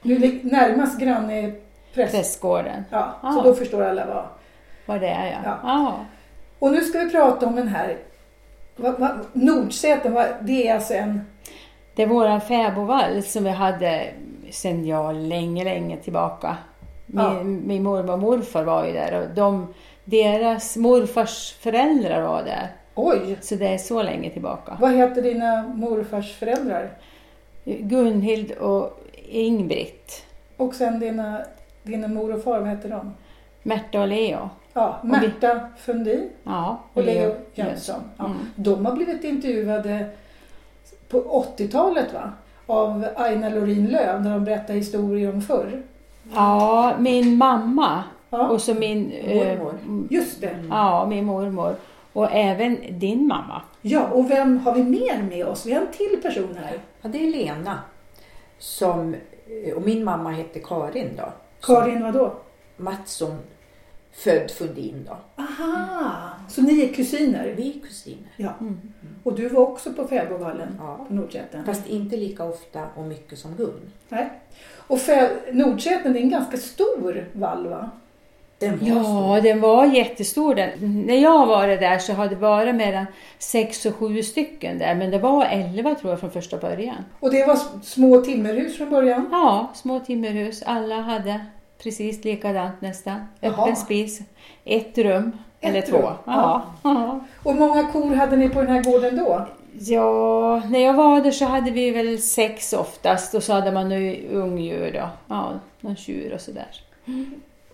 Speaker 1: Nu lig- närmast granne är präst.
Speaker 3: prästgården.
Speaker 1: Ja,
Speaker 3: Ah.
Speaker 1: så då förstår alla vad.
Speaker 3: Var det är jag.
Speaker 1: Ja.
Speaker 3: Ja.
Speaker 1: Och nu ska vi prata om den här va, va, Nordsäten. Va, det är alltså en...
Speaker 3: Det är våran fäbodvall som vi hade sedan jag länge, länge tillbaka. Min,
Speaker 1: Ja.
Speaker 3: min mormor och morfar var ju där och de, deras morfars föräldrar var där.
Speaker 1: Oj!
Speaker 3: Så det är så länge tillbaka.
Speaker 1: Vad heter dina morfars föräldrar?
Speaker 3: Gunhild och Ingbritt,
Speaker 1: Och sen dina, dina mor och far, vad heter de?
Speaker 3: Märta och Leo.
Speaker 1: Ja,
Speaker 3: vi-
Speaker 1: Märta Fundin
Speaker 3: Ja,
Speaker 1: och Leo Jönsson. Ja,
Speaker 3: Mm.
Speaker 1: de har blivit intervjuade på 80-talet va? Av Aina Lorin Lööf när de berättar historier om förr.
Speaker 3: Ja, min mamma
Speaker 1: Ja.
Speaker 3: och så min... eh,
Speaker 1: Mormor. Just det.
Speaker 3: Ja, min mormor. Och även din mamma.
Speaker 1: Ja, och vem har vi mer med oss? Vi har en till person här.
Speaker 4: Ja, det är Lena. Som, eh, och min mamma hette Karin då.
Speaker 1: Karin vadå?
Speaker 4: Som Mattsson född Fundin då.
Speaker 1: Aha! Så ni är kusiner?
Speaker 4: Vi är kusiner.
Speaker 1: Ja. Och du var också på Fäbodvallen?
Speaker 4: Ja.
Speaker 1: På Nordsäten?
Speaker 4: Fast inte lika ofta och mycket som Gun.
Speaker 1: Nej. Och Fä- Nordsäten det är en ganska stor vall va?
Speaker 4: Den var
Speaker 3: Ja, den var jättestor den. När jag var där så hade det varit mellan sex och sju stycken där. Men det var elva tror jag från första början.
Speaker 1: Och det var s- små timmerhus från början?
Speaker 3: Ja, små timmerhus. Alla hade precis likadant nästan. Öppen
Speaker 1: Jaha.
Speaker 3: spis. Ett rum.
Speaker 1: Ett
Speaker 3: eller två.
Speaker 1: rum,
Speaker 3: Ja. Ja.
Speaker 1: Och många kor hade ni på den här gården då?
Speaker 3: ja, när jag var där så hade vi väl sex oftast. Och så hade man nu ungdjur då. Ja, någon tjur och sådär.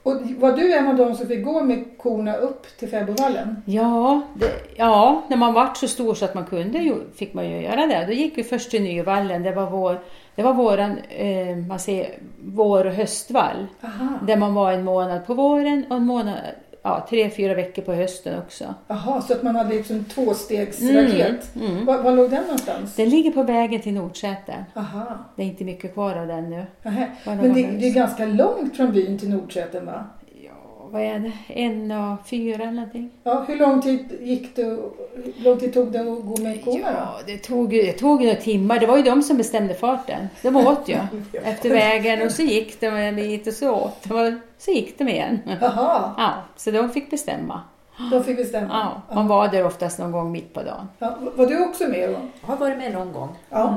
Speaker 1: Och var du en av dem som fick gå med korna upp till fäbodvallen?
Speaker 3: Ja, det, ja, när man vart så stor så att man kunde ju, fick man ju göra det. Då gick vi först till Nyvallen, det var, vår, det var våran, eh, man säger, vår och höstvall.
Speaker 1: Aha.
Speaker 3: Där man var en månad på våren och en månad, ja, tre, fyra veckor på hösten också.
Speaker 1: Aha, så att man hade liksom tvåstegsraket.
Speaker 3: Mm, mm.
Speaker 1: Var, var låg den någonstans?
Speaker 3: Den ligger på vägen till Nordsäter.
Speaker 1: Aha.
Speaker 3: Det är inte mycket kvar av den nu.
Speaker 1: Nähä.
Speaker 3: Var det
Speaker 1: Men det,
Speaker 3: någon
Speaker 1: det är ganska långt från byn till Nordsäten va?
Speaker 3: Ja, vad är det? En och fyra eller någonting?
Speaker 1: Ja, hur lång tid gick det, hur lång tid tog det att gå med korna då?
Speaker 3: Ja, det tog, ju- det tog ju några timmar. Det var ju de som bestämde farten. De
Speaker 1: (laughs)
Speaker 3: åt ju efter vägen och så gick de en bit och så åt de och så gick de igen.
Speaker 1: Jaha,
Speaker 3: Ja, så de fick bestämma.
Speaker 1: då fick vi stämma.
Speaker 3: Ja, man var där oftast någon gång mitt på dagen.
Speaker 1: Ja, var du också med då?
Speaker 4: Jag har varit med någon gång.
Speaker 3: Mm.
Speaker 1: Ja.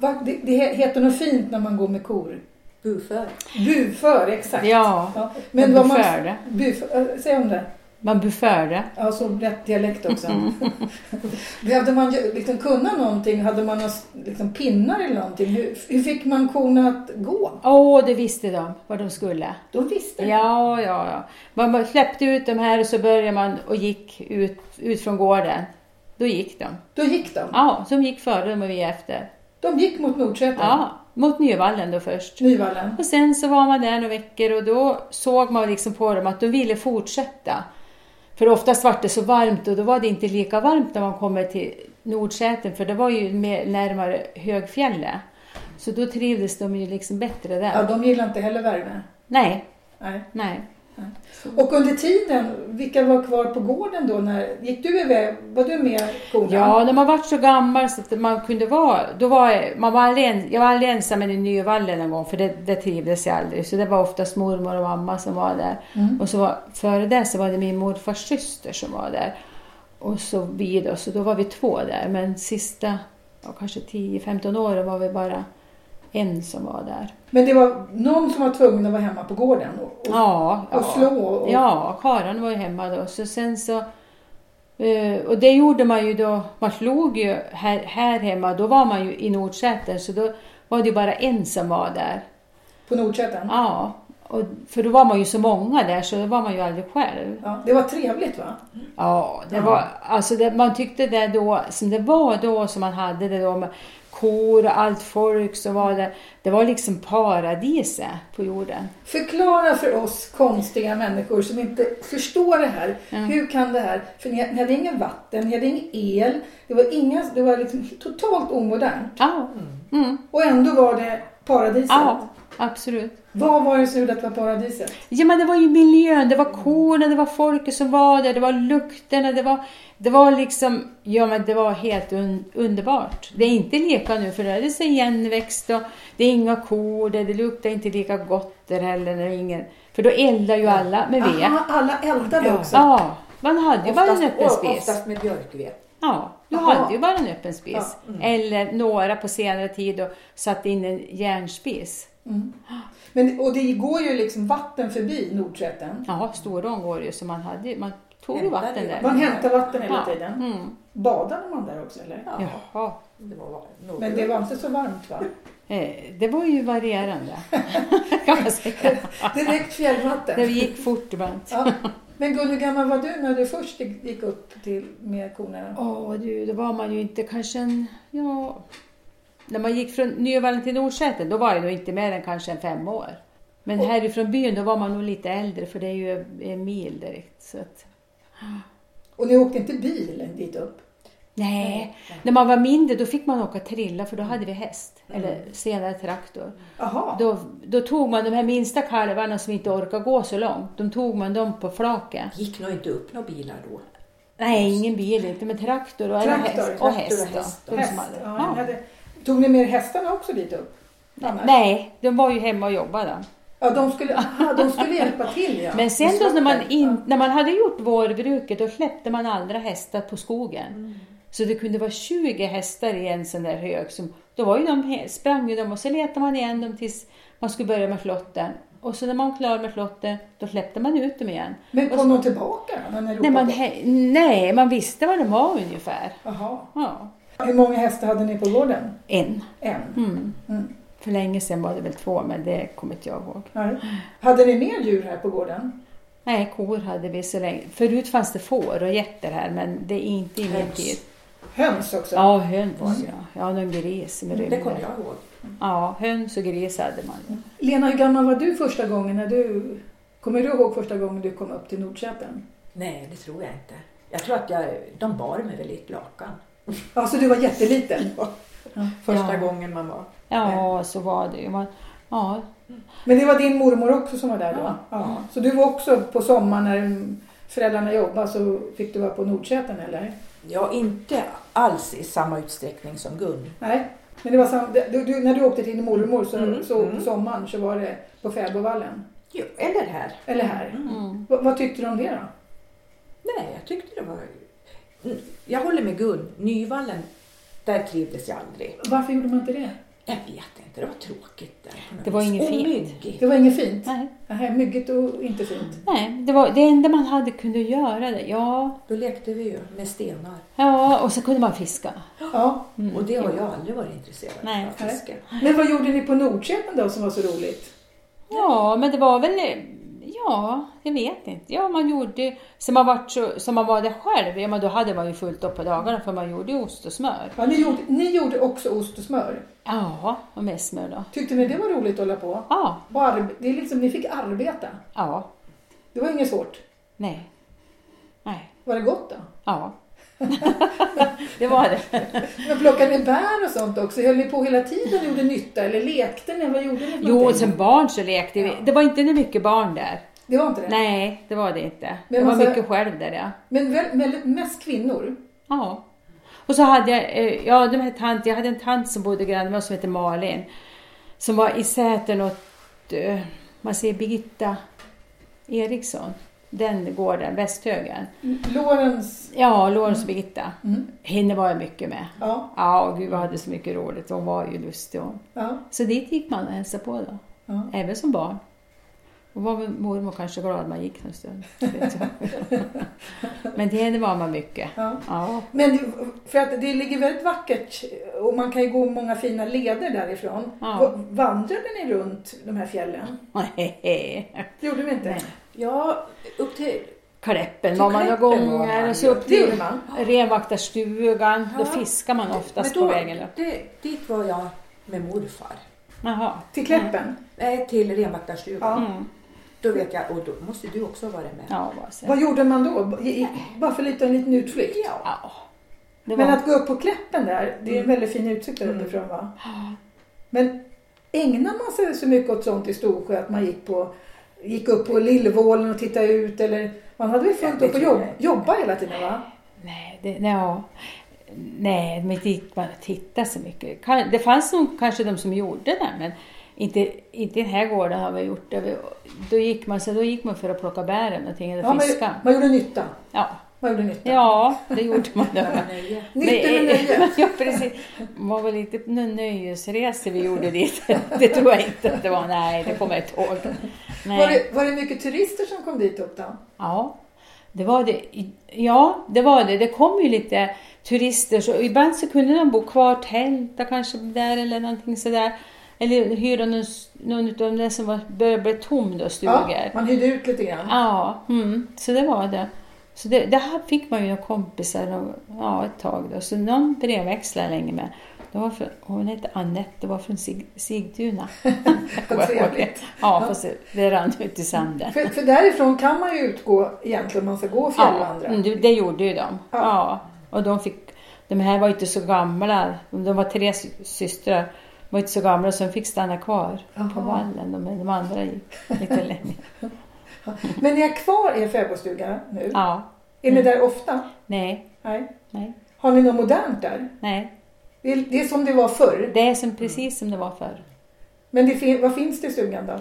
Speaker 1: Va, det, det heter något fint när man går med kor.
Speaker 4: Buför.
Speaker 1: Buför, exakt.
Speaker 3: Ja,
Speaker 1: Ja,
Speaker 3: man
Speaker 1: Men vad man...
Speaker 3: buförde.
Speaker 1: Buför, äh, säg om det.
Speaker 3: Man buförde.
Speaker 1: Ja, så rätt dialekt också.
Speaker 3: Mm.
Speaker 1: (laughs) Behövde man ju liksom kunna någonting? Hade man några s- liksom pinnar eller någonting? Hur, hur fick man korna att gå?
Speaker 3: Åh, det visste de vad de skulle.
Speaker 1: Då visste jag.
Speaker 3: Ja, ja, ja. Man bara släppte ut dem här och så började man och gick ut, ut från gården. Då gick de.
Speaker 1: Då gick de.
Speaker 3: Ja, som gick före dem och vi efter.
Speaker 1: De gick mot Nordsäter.
Speaker 3: Ja, mot Nyvallen då först.
Speaker 1: Nyvallen.
Speaker 3: Och sen så var man där några veckor och då såg man liksom på dem att de ville fortsätta. För oftast var det så varmt och då var det inte lika varmt när man kommer till Nordsäten för det var ju mer, närmare högfjället. Så då trivdes de ju liksom bättre där.
Speaker 1: Ja, de gillar inte heller värme.
Speaker 3: Nej,
Speaker 1: Nej.
Speaker 3: nej.
Speaker 1: Och under tiden, vilka var kvar på gården då? När, gick du iväg? Var du med korna?
Speaker 3: Ja, när man var så gammal så att man kunde vara... Då var jag, man var aldrig, en- jag var aldrig ensam i Nyvallen en gång för det, det trivdes jag aldrig. Så det var oftast mormor och mamma som var där.
Speaker 1: Mm.
Speaker 3: Och så var, före det så var det min morfars syster som var där. Och så vi då, så då var vi två där. Men sista, ja, kanske 10-15 åren var vi bara en som var där.
Speaker 1: Men det var någon som var tvungen att vara hemma på gården och, och,
Speaker 3: Ja, ja.
Speaker 1: och slå? Och,
Speaker 3: Ja, Karan var ju hemma då. Så sen så, eh, och det gjorde man ju då, man slog ju här, här hemma, då var man ju i Nordsäter så då var det ju bara en som var där.
Speaker 1: På Nordsätern?
Speaker 3: Ja, och, för då var man ju så många där så då var man ju aldrig själv.
Speaker 1: Ja, det var trevligt va?
Speaker 3: Ja, det var, alltså det, man tyckte det då, som det var då som man hade det då med kor och allt folk som var där. Det var liksom paradiset på jorden.
Speaker 1: Förklara för oss konstiga människor som inte förstår det här. Hur kan det här? För ni, ni hade ingen vatten, ni hade ingen el. Det var, inga, det var liksom totalt omodernt.
Speaker 3: Ja, mm.
Speaker 1: Och ändå var det paradiset.
Speaker 3: ja absolut.
Speaker 1: Vad var det som gjorde att det var paradiset?
Speaker 3: Ja, men det var ju miljön, det var korna, det var folket som var där, det var lukterna, det var, det var liksom, ja men det var helt un, underbart. Det är inte lika nu för det är så igenväxt och det är inga kor, det, det luktar inte lika gott där heller, när det är ingen, för då eldar ju alla med ved.
Speaker 1: Aha, alla eldade också.
Speaker 3: Ja, man hade ju bara en öppen
Speaker 4: oftast,
Speaker 3: spis.
Speaker 4: oftast med björkved.
Speaker 3: Ja, du
Speaker 1: Aha.
Speaker 3: hade ju bara en öppen spis. Eller några på senare tid och satte in en järnspis.
Speaker 1: Men, och det går ju liksom vatten förbi Nordsätern.
Speaker 3: Ja, Storån går ju, så man, hade, ju- man tog ju
Speaker 4: Hämtade
Speaker 3: vatten
Speaker 4: ju.
Speaker 3: där.
Speaker 1: Man hämtar vatten hela
Speaker 3: Ja.
Speaker 1: tiden.
Speaker 3: Mm.
Speaker 1: Badade man där också eller?
Speaker 4: Ja,
Speaker 3: Jaha.
Speaker 4: det var något.
Speaker 1: Men det var inte så varmt va?
Speaker 3: Eh, Det var ju varierande, kan man säga.
Speaker 1: Direkt fjällvatten.
Speaker 3: Det gick fort ibland.
Speaker 1: Ja. Men Gun, hur gammal var du när du först gick upp till med korna?
Speaker 3: Åh du, då var man ju inte kanske en... Ja, när man gick från Nyvallen till Nordsäter, då var jag nog inte mer än kanske en fem år. Men härifrån byn, då var man nog lite äldre, för det är ju en mil direkt. Så att,
Speaker 1: Och ni åkte inte bil dit upp?
Speaker 3: nej, när man var mindre då fick man åka trilla, för då hade vi häst, eller senare traktor.
Speaker 1: Jaha,
Speaker 3: Då, då tog man de här minsta kalvarna som inte orkade gå så långt, de tog man dem på flaket.
Speaker 4: gick nog inte upp några bilar då.
Speaker 3: Nej, ingen bil inte, men traktor och, eller
Speaker 1: Traktor,
Speaker 3: häst, och
Speaker 4: traktor och
Speaker 3: häst. då.
Speaker 4: häst.
Speaker 3: De
Speaker 1: häst.
Speaker 3: som hade-
Speaker 1: Ja, ni
Speaker 3: ja.
Speaker 1: hade... Tog ni med hästarna också dit upp? Annars?
Speaker 3: Nej, de var ju hemma och jobbade.
Speaker 1: Ja, de skulle, aha, de skulle hjälpa till ja.
Speaker 3: Men sen
Speaker 1: Med
Speaker 3: då när man,
Speaker 1: slakten.
Speaker 3: in, när man hade gjort vårbruket, då släppte man andra hästar på skogen.
Speaker 1: Mm.
Speaker 3: Så det kunde vara 20 hästar i en sån där hög. Som, då var ju de, he- sprang ju de och så letade man igen dem tills man skulle börja med flotten. Och så när man var klar med flotten, då släppte man ut dem igen.
Speaker 1: Men
Speaker 3: Och så-
Speaker 1: kom de tillbaka då? När ni
Speaker 3: nej,
Speaker 1: ropade
Speaker 3: man,
Speaker 1: på?
Speaker 3: he- nej, man visste var de var ungefär.
Speaker 1: Jaha.
Speaker 3: Ja.
Speaker 1: Hur många hästar hade ni på gården?
Speaker 3: En.
Speaker 1: En.
Speaker 3: Mm.
Speaker 1: Mm.
Speaker 3: För länge sedan var det väl två, men det kommer inte jag ihåg.
Speaker 1: Nej. Hade ni mer djur här på gården?
Speaker 3: Nej, kor hade vi så länge. Förut fanns det får och getter här, men det är inte i min
Speaker 4: Höns. Mm.
Speaker 3: tid.
Speaker 1: Höns också?
Speaker 3: Ja, höns var det ja. Jag hade en gris med
Speaker 4: Det kommer
Speaker 3: rymde.
Speaker 4: jag ihåg.
Speaker 3: Ja, höns och gris hade man.
Speaker 1: Lena, hur gammal var du första gången när du... Kommer du ihåg första gången du kom upp till Nordköping?
Speaker 4: Nej, det tror jag inte. Jag tror att jag, de bar mig väl i ett lakan.
Speaker 1: Alltså du var
Speaker 3: (laughs)
Speaker 1: jätteliten?
Speaker 4: Första
Speaker 3: Ja.
Speaker 4: gången man var.
Speaker 3: Ja, så var det ju. Man, ja,
Speaker 1: Men det var din mormor också som var där då?
Speaker 4: Ja.
Speaker 1: Så du var också på sommaren när föräldrarna jobbade så fick du vara på Nordköping eller?
Speaker 4: Ja, inte alls i samma utsträckning som Gun.
Speaker 1: Nej. Men det var sam- du, du, när du åkte till din mormor så,
Speaker 4: Mm,
Speaker 1: så
Speaker 4: mm.
Speaker 1: på sommaren så var det på Fäbodvallen?
Speaker 4: Jo, eller här.
Speaker 1: Eller här?
Speaker 3: mm.
Speaker 1: Va- vad tyckte du om det då?
Speaker 4: Nej, jag tyckte det var... Mm, Jag håller med Gun. Nyvallen, där trivdes jag aldrig.
Speaker 1: Varför gjorde man inte det?
Speaker 4: Jag vet inte, det var tråkigt där. på något
Speaker 3: Det var
Speaker 4: vis.
Speaker 3: inget
Speaker 4: Och
Speaker 3: fint.
Speaker 4: myggigt.
Speaker 1: Det var inget fint?
Speaker 3: nej.
Speaker 1: Nej, myggigt och inte fint.
Speaker 3: nej det, var, det enda man hade kunde göra det. Ja,
Speaker 4: Då lekte vi ju med stenar.
Speaker 3: ja och så kunde man fiska.
Speaker 1: Ja.
Speaker 3: Mm.
Speaker 4: Och det har jag aldrig varit intresserad
Speaker 3: Nej.
Speaker 4: av, fiske.
Speaker 1: Men vad gjorde ni på Nordköping då som var så roligt?
Speaker 3: Ja, men det var väl... Ja, jag vet inte. Ja, man gjorde... Så man, var så, så man var där själv, ja, men då hade man ju fullt upp på dagarna för man gjorde ju ost och smör.
Speaker 1: Ja, ni, gjorde, ni gjorde också ost och smör.
Speaker 3: Ja, och med smör då.
Speaker 1: Tyckte ni det var roligt att hålla på?
Speaker 3: Ja,
Speaker 1: Och arbe- det är liksom, ni fick arbeta.
Speaker 3: ja,
Speaker 1: Det var inget svårt.
Speaker 3: nej. Nej,
Speaker 1: Var det gott då?
Speaker 3: ja. (laughs) det var det.
Speaker 1: Men plockade ni bär och sånt också? Höll ni på hela tiden och gjorde nytta? Eller lekte ni? Vad gjorde ni? för
Speaker 3: Jo,
Speaker 1: någonting?
Speaker 3: som barn så lekte vi.
Speaker 1: Ja.
Speaker 3: Det var inte så mycket barn där.
Speaker 1: Det var inte det?
Speaker 3: Nej, det var det inte.
Speaker 1: Men
Speaker 3: Det var
Speaker 1: massa-
Speaker 3: mycket själv där, ja.
Speaker 1: Men väl, väldigt- mest kvinnor?
Speaker 3: Ja. Och så hade jag, eh, ja, de här tant, jag hade en tant som bodde granne med oss som hette Malin. Som var i Sätern åt, eh, man säger Birgitta Eriksson. Den gården, Västhögen.
Speaker 1: Lorens...
Speaker 3: Ja, Lorentz och Birgitta.
Speaker 1: Mm.
Speaker 3: Henne var jag mycket med.
Speaker 1: Ja,
Speaker 3: Ja, gud vad jag hade så mycket roligt. Hon var ju lustig hon.
Speaker 1: ja,
Speaker 3: Så dit gick man och hälsade på då.
Speaker 1: ja.
Speaker 3: Även som barn. Och var väl mormor kanske glad man gick någon stund. vet jag.
Speaker 1: (laughs)
Speaker 3: Men till henne var man mycket.
Speaker 1: ja.
Speaker 3: Ja. (laughs)
Speaker 1: Men det, för att det ligger väldigt vackert och man kan ju gå många fina leder därifrån.
Speaker 3: Ja.
Speaker 1: Va- Vandrade ni runt de här fjällen?
Speaker 3: Nej.
Speaker 1: Gjorde ni inte?
Speaker 3: Nej.
Speaker 4: Ja, upp till...
Speaker 3: Kläppen
Speaker 4: Till
Speaker 3: var man några
Speaker 4: Kläppen var
Speaker 3: gånger
Speaker 4: man,
Speaker 3: och så
Speaker 4: ja.
Speaker 3: upp
Speaker 1: Det gjorde
Speaker 3: till
Speaker 1: man.
Speaker 3: renvaktarstugan. Då
Speaker 4: Ja.
Speaker 3: fiskar man oftast
Speaker 4: Men då-
Speaker 3: på vägen upp.
Speaker 4: Det, dit var jag med morfar.
Speaker 3: Jaha.
Speaker 1: Till Kläppen?
Speaker 4: Nej, till renvaktarstugan.
Speaker 1: Ja.
Speaker 3: Mm.
Speaker 4: Då vet jag, och då måste du också vara med.
Speaker 3: Ja, vad sen.
Speaker 1: Vad gjorde man då? I- i- Bara för lite, en liten utflykt?
Speaker 3: Ja. Det var...
Speaker 1: Men att gå upp på Kläppen där, det är en
Speaker 4: Mm.
Speaker 1: väldigt fin utsikt där
Speaker 4: Mm.
Speaker 1: uppifrån va?
Speaker 3: Ja.
Speaker 1: Men ägnar man sig så mycket åt sånt i Storsjö att man gick, på, gick upp på Lillvålen och tittade ut eller man hade väl fullt
Speaker 4: Ja, det
Speaker 1: upp att
Speaker 4: tror
Speaker 1: jobb,
Speaker 4: jag inte.
Speaker 1: jobba hela tiden va?
Speaker 3: Nej, det, nej, ja. nej, men dit man tittar så mycket. Kan- Det fanns nog kanske de som gjorde det, men inte, inte i den här gården har vi gjort det. Vi- Då gick man, så då gick man för att plocka bär eller någonting, eller
Speaker 1: Ja, man,
Speaker 3: fiska.
Speaker 1: man gjorde nytta.
Speaker 3: Ja.
Speaker 1: Man gjorde nytta.
Speaker 3: ja, det gjorde man. Då.
Speaker 4: Nöje.
Speaker 1: Nytta med
Speaker 3: Nej,
Speaker 1: nöje.
Speaker 3: (laughs) ja, precis. Det var väl inte någon nöjesresa vi gjorde dit. (laughs) Det tror jag inte att det var. Nej, det kommer jag inte ihåg. Nej.
Speaker 1: Var det, var det mycket turister som kom dit upp då?
Speaker 3: Ja, det var det. Ja, det var det. Det kom ju lite turister så ibland så kunde de bo kvar, tälta kanske där eller någonting sådär. Eller hyra någon, någon av de där som var, började bli tom då, stugor.
Speaker 1: Ja,
Speaker 3: Ja,
Speaker 1: man hyrde ut lite grann.
Speaker 3: mm, så det var det. Så det, det här fick man ju några kompisar och, ja, ett tag då. Så någon brevväxlade länge med. Det var från, hon hette Annette, det var från Sig, Sigtuna. Jag kommer ihåg det.
Speaker 1: trevligt.
Speaker 3: Ja, fast det- det rann ut i sanden.
Speaker 1: För, för därifrån kan man ju utgå egentligen om man ska gå och fjällvandra.
Speaker 3: mm, det- det gjorde ju de.
Speaker 1: Ja.
Speaker 3: Ja. Och de fick, de här var ju inte så gamla, de var tre sy- systrar, de var inte så gamla så de fick stanna kvar på
Speaker 1: Jaha.
Speaker 3: vallen. De, de andra gick lite längre.
Speaker 1: Men ni är kvar i er fäbodstuga nu?
Speaker 3: Ja, Mm.
Speaker 1: Är ni där ofta?
Speaker 3: nej,
Speaker 1: Nej.
Speaker 3: nej,
Speaker 1: Har ni något modernt där?
Speaker 3: nej.
Speaker 1: Det är, det är som det var förr.
Speaker 3: Det är som, precis som det var förr.
Speaker 1: Men det fin, vad finns det i stugan då?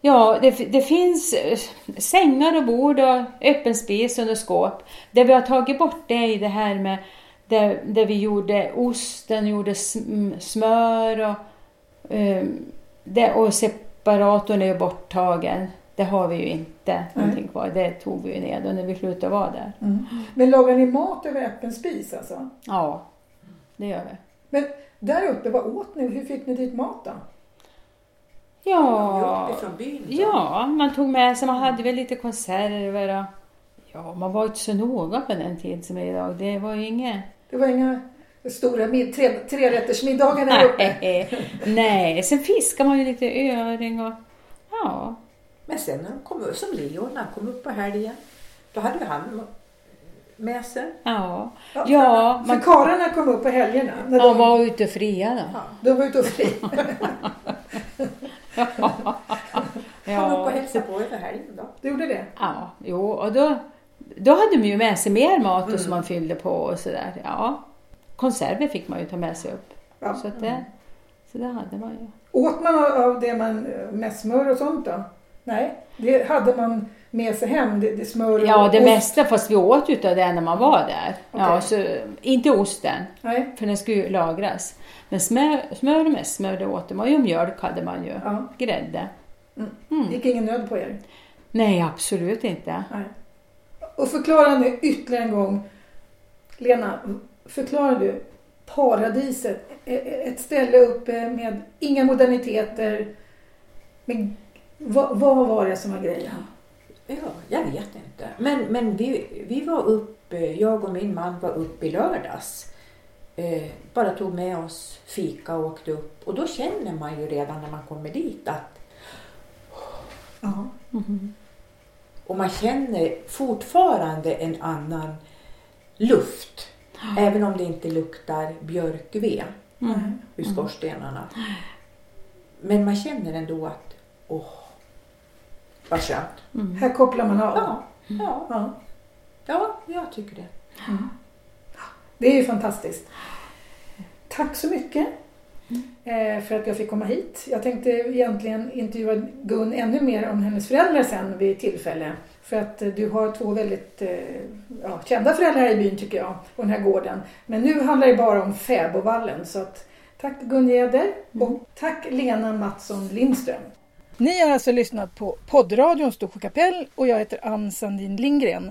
Speaker 3: Ja, det, det finns eh, sängar och bord och öppen spis under skåp. Det vi har tagit bort det är ju det här med där, där vi gjorde osten, gjorde sm- smör och, eh, det, och separatorn är ju borttagen. Det har vi ju inte någonting kvar. Det tog vi ju ner då när vi slutade
Speaker 1: Mm.
Speaker 3: vara där.
Speaker 1: Men lagar ni mat över öppen spis alltså?
Speaker 3: Ja, det gör vi.
Speaker 1: Men där uppe, vad åt ni? Hur fick ni dit mat då?
Speaker 3: Ja,
Speaker 4: åkte från byn. så.
Speaker 3: ja, man tog med sig, man hade väl lite konserver och ja, man var ju inte så noga på den tiden som är idag. Det var ju inget.
Speaker 1: Det var inga stora mid- tre, trerättersmiddagar där uppe?
Speaker 3: eh, Nej, sen fiskar man ju lite öring och ja.
Speaker 4: Men sen när de kom, som Leo, när han kom upp på helgen, då hade ju han med sig.
Speaker 3: Ja,
Speaker 1: Ja,
Speaker 3: ja
Speaker 1: För
Speaker 3: man
Speaker 1: karlarna kom upp på helgerna? När
Speaker 3: ja,
Speaker 1: de,
Speaker 3: var ute och fria
Speaker 1: (laughs)
Speaker 3: då.
Speaker 1: de var ute och fri.
Speaker 4: Han kom upp och
Speaker 3: Ja,
Speaker 4: hälsade på över helgen då.
Speaker 1: (laughs) Du gjorde det?
Speaker 3: ja jo, och då, då hade man ju med sig mer mat
Speaker 1: Mm.
Speaker 3: och som man fyllde på och sådär. Ja, konserver fick man ju ta med sig upp.
Speaker 1: Ja.
Speaker 3: Så, att det, så det hade man ju.
Speaker 1: Åt man av- av det man, eh, med smör och sånt då? Nej, det hade man med sig hem, det, det smör och
Speaker 3: Ja, det
Speaker 1: ost.
Speaker 3: mesta, fast vi åt ju utav det när man var där. Ja,
Speaker 1: Okej.
Speaker 3: så, inte osten,
Speaker 1: Nej,
Speaker 3: för den skulle ju lagras. Men smör, smör och mest smör det åt man ju, och mjölk hade man ju,
Speaker 1: Ja.
Speaker 3: grädde.
Speaker 1: Mm.
Speaker 3: Mm.
Speaker 1: det gick ingen nöd på er.
Speaker 3: Nej, absolut inte.
Speaker 1: Nej. Och förklara nu ytterligare en gång. Lena, förklara du paradiset. E- e- Ett ställe uppe med inga moderniteter. Men vad, vad var det som var grejen?
Speaker 4: Ja, jag vet inte. Men, men vi, vi var upp, eh, jag och min man var upp i lördags. Eh, bara tog med oss fika och åkte upp. Och då känner man ju redan när man kommer dit att,
Speaker 1: Ja.
Speaker 4: och man känner fortfarande en annan luft. Även om det inte luktar björkved ur skorstenarna. Men man känner ändå att, åh, vad skönt.
Speaker 1: Här kopplar man av.
Speaker 4: Ja, ja,
Speaker 1: Mm. Ja.
Speaker 4: ja, jag tycker det.
Speaker 1: Det är ju fantastiskt. Tack så mycket eh, för att jag fick komma hit. Jag tänkte egentligen intervjua Gun ännu mer om hennes föräldrar sen vid tillfälle. För att eh, du har två väldigt eh, ja, kända föräldrar här i byn tycker jag, och den här gården. Men nu handlar det bara om fäbodvallen. Så att, tack Gun Gäder och tack Lena Mattsson Lindström. Ni har alltså lyssnat på poddradion Storsjö kapell och jag heter Ann Sandin Lindgren.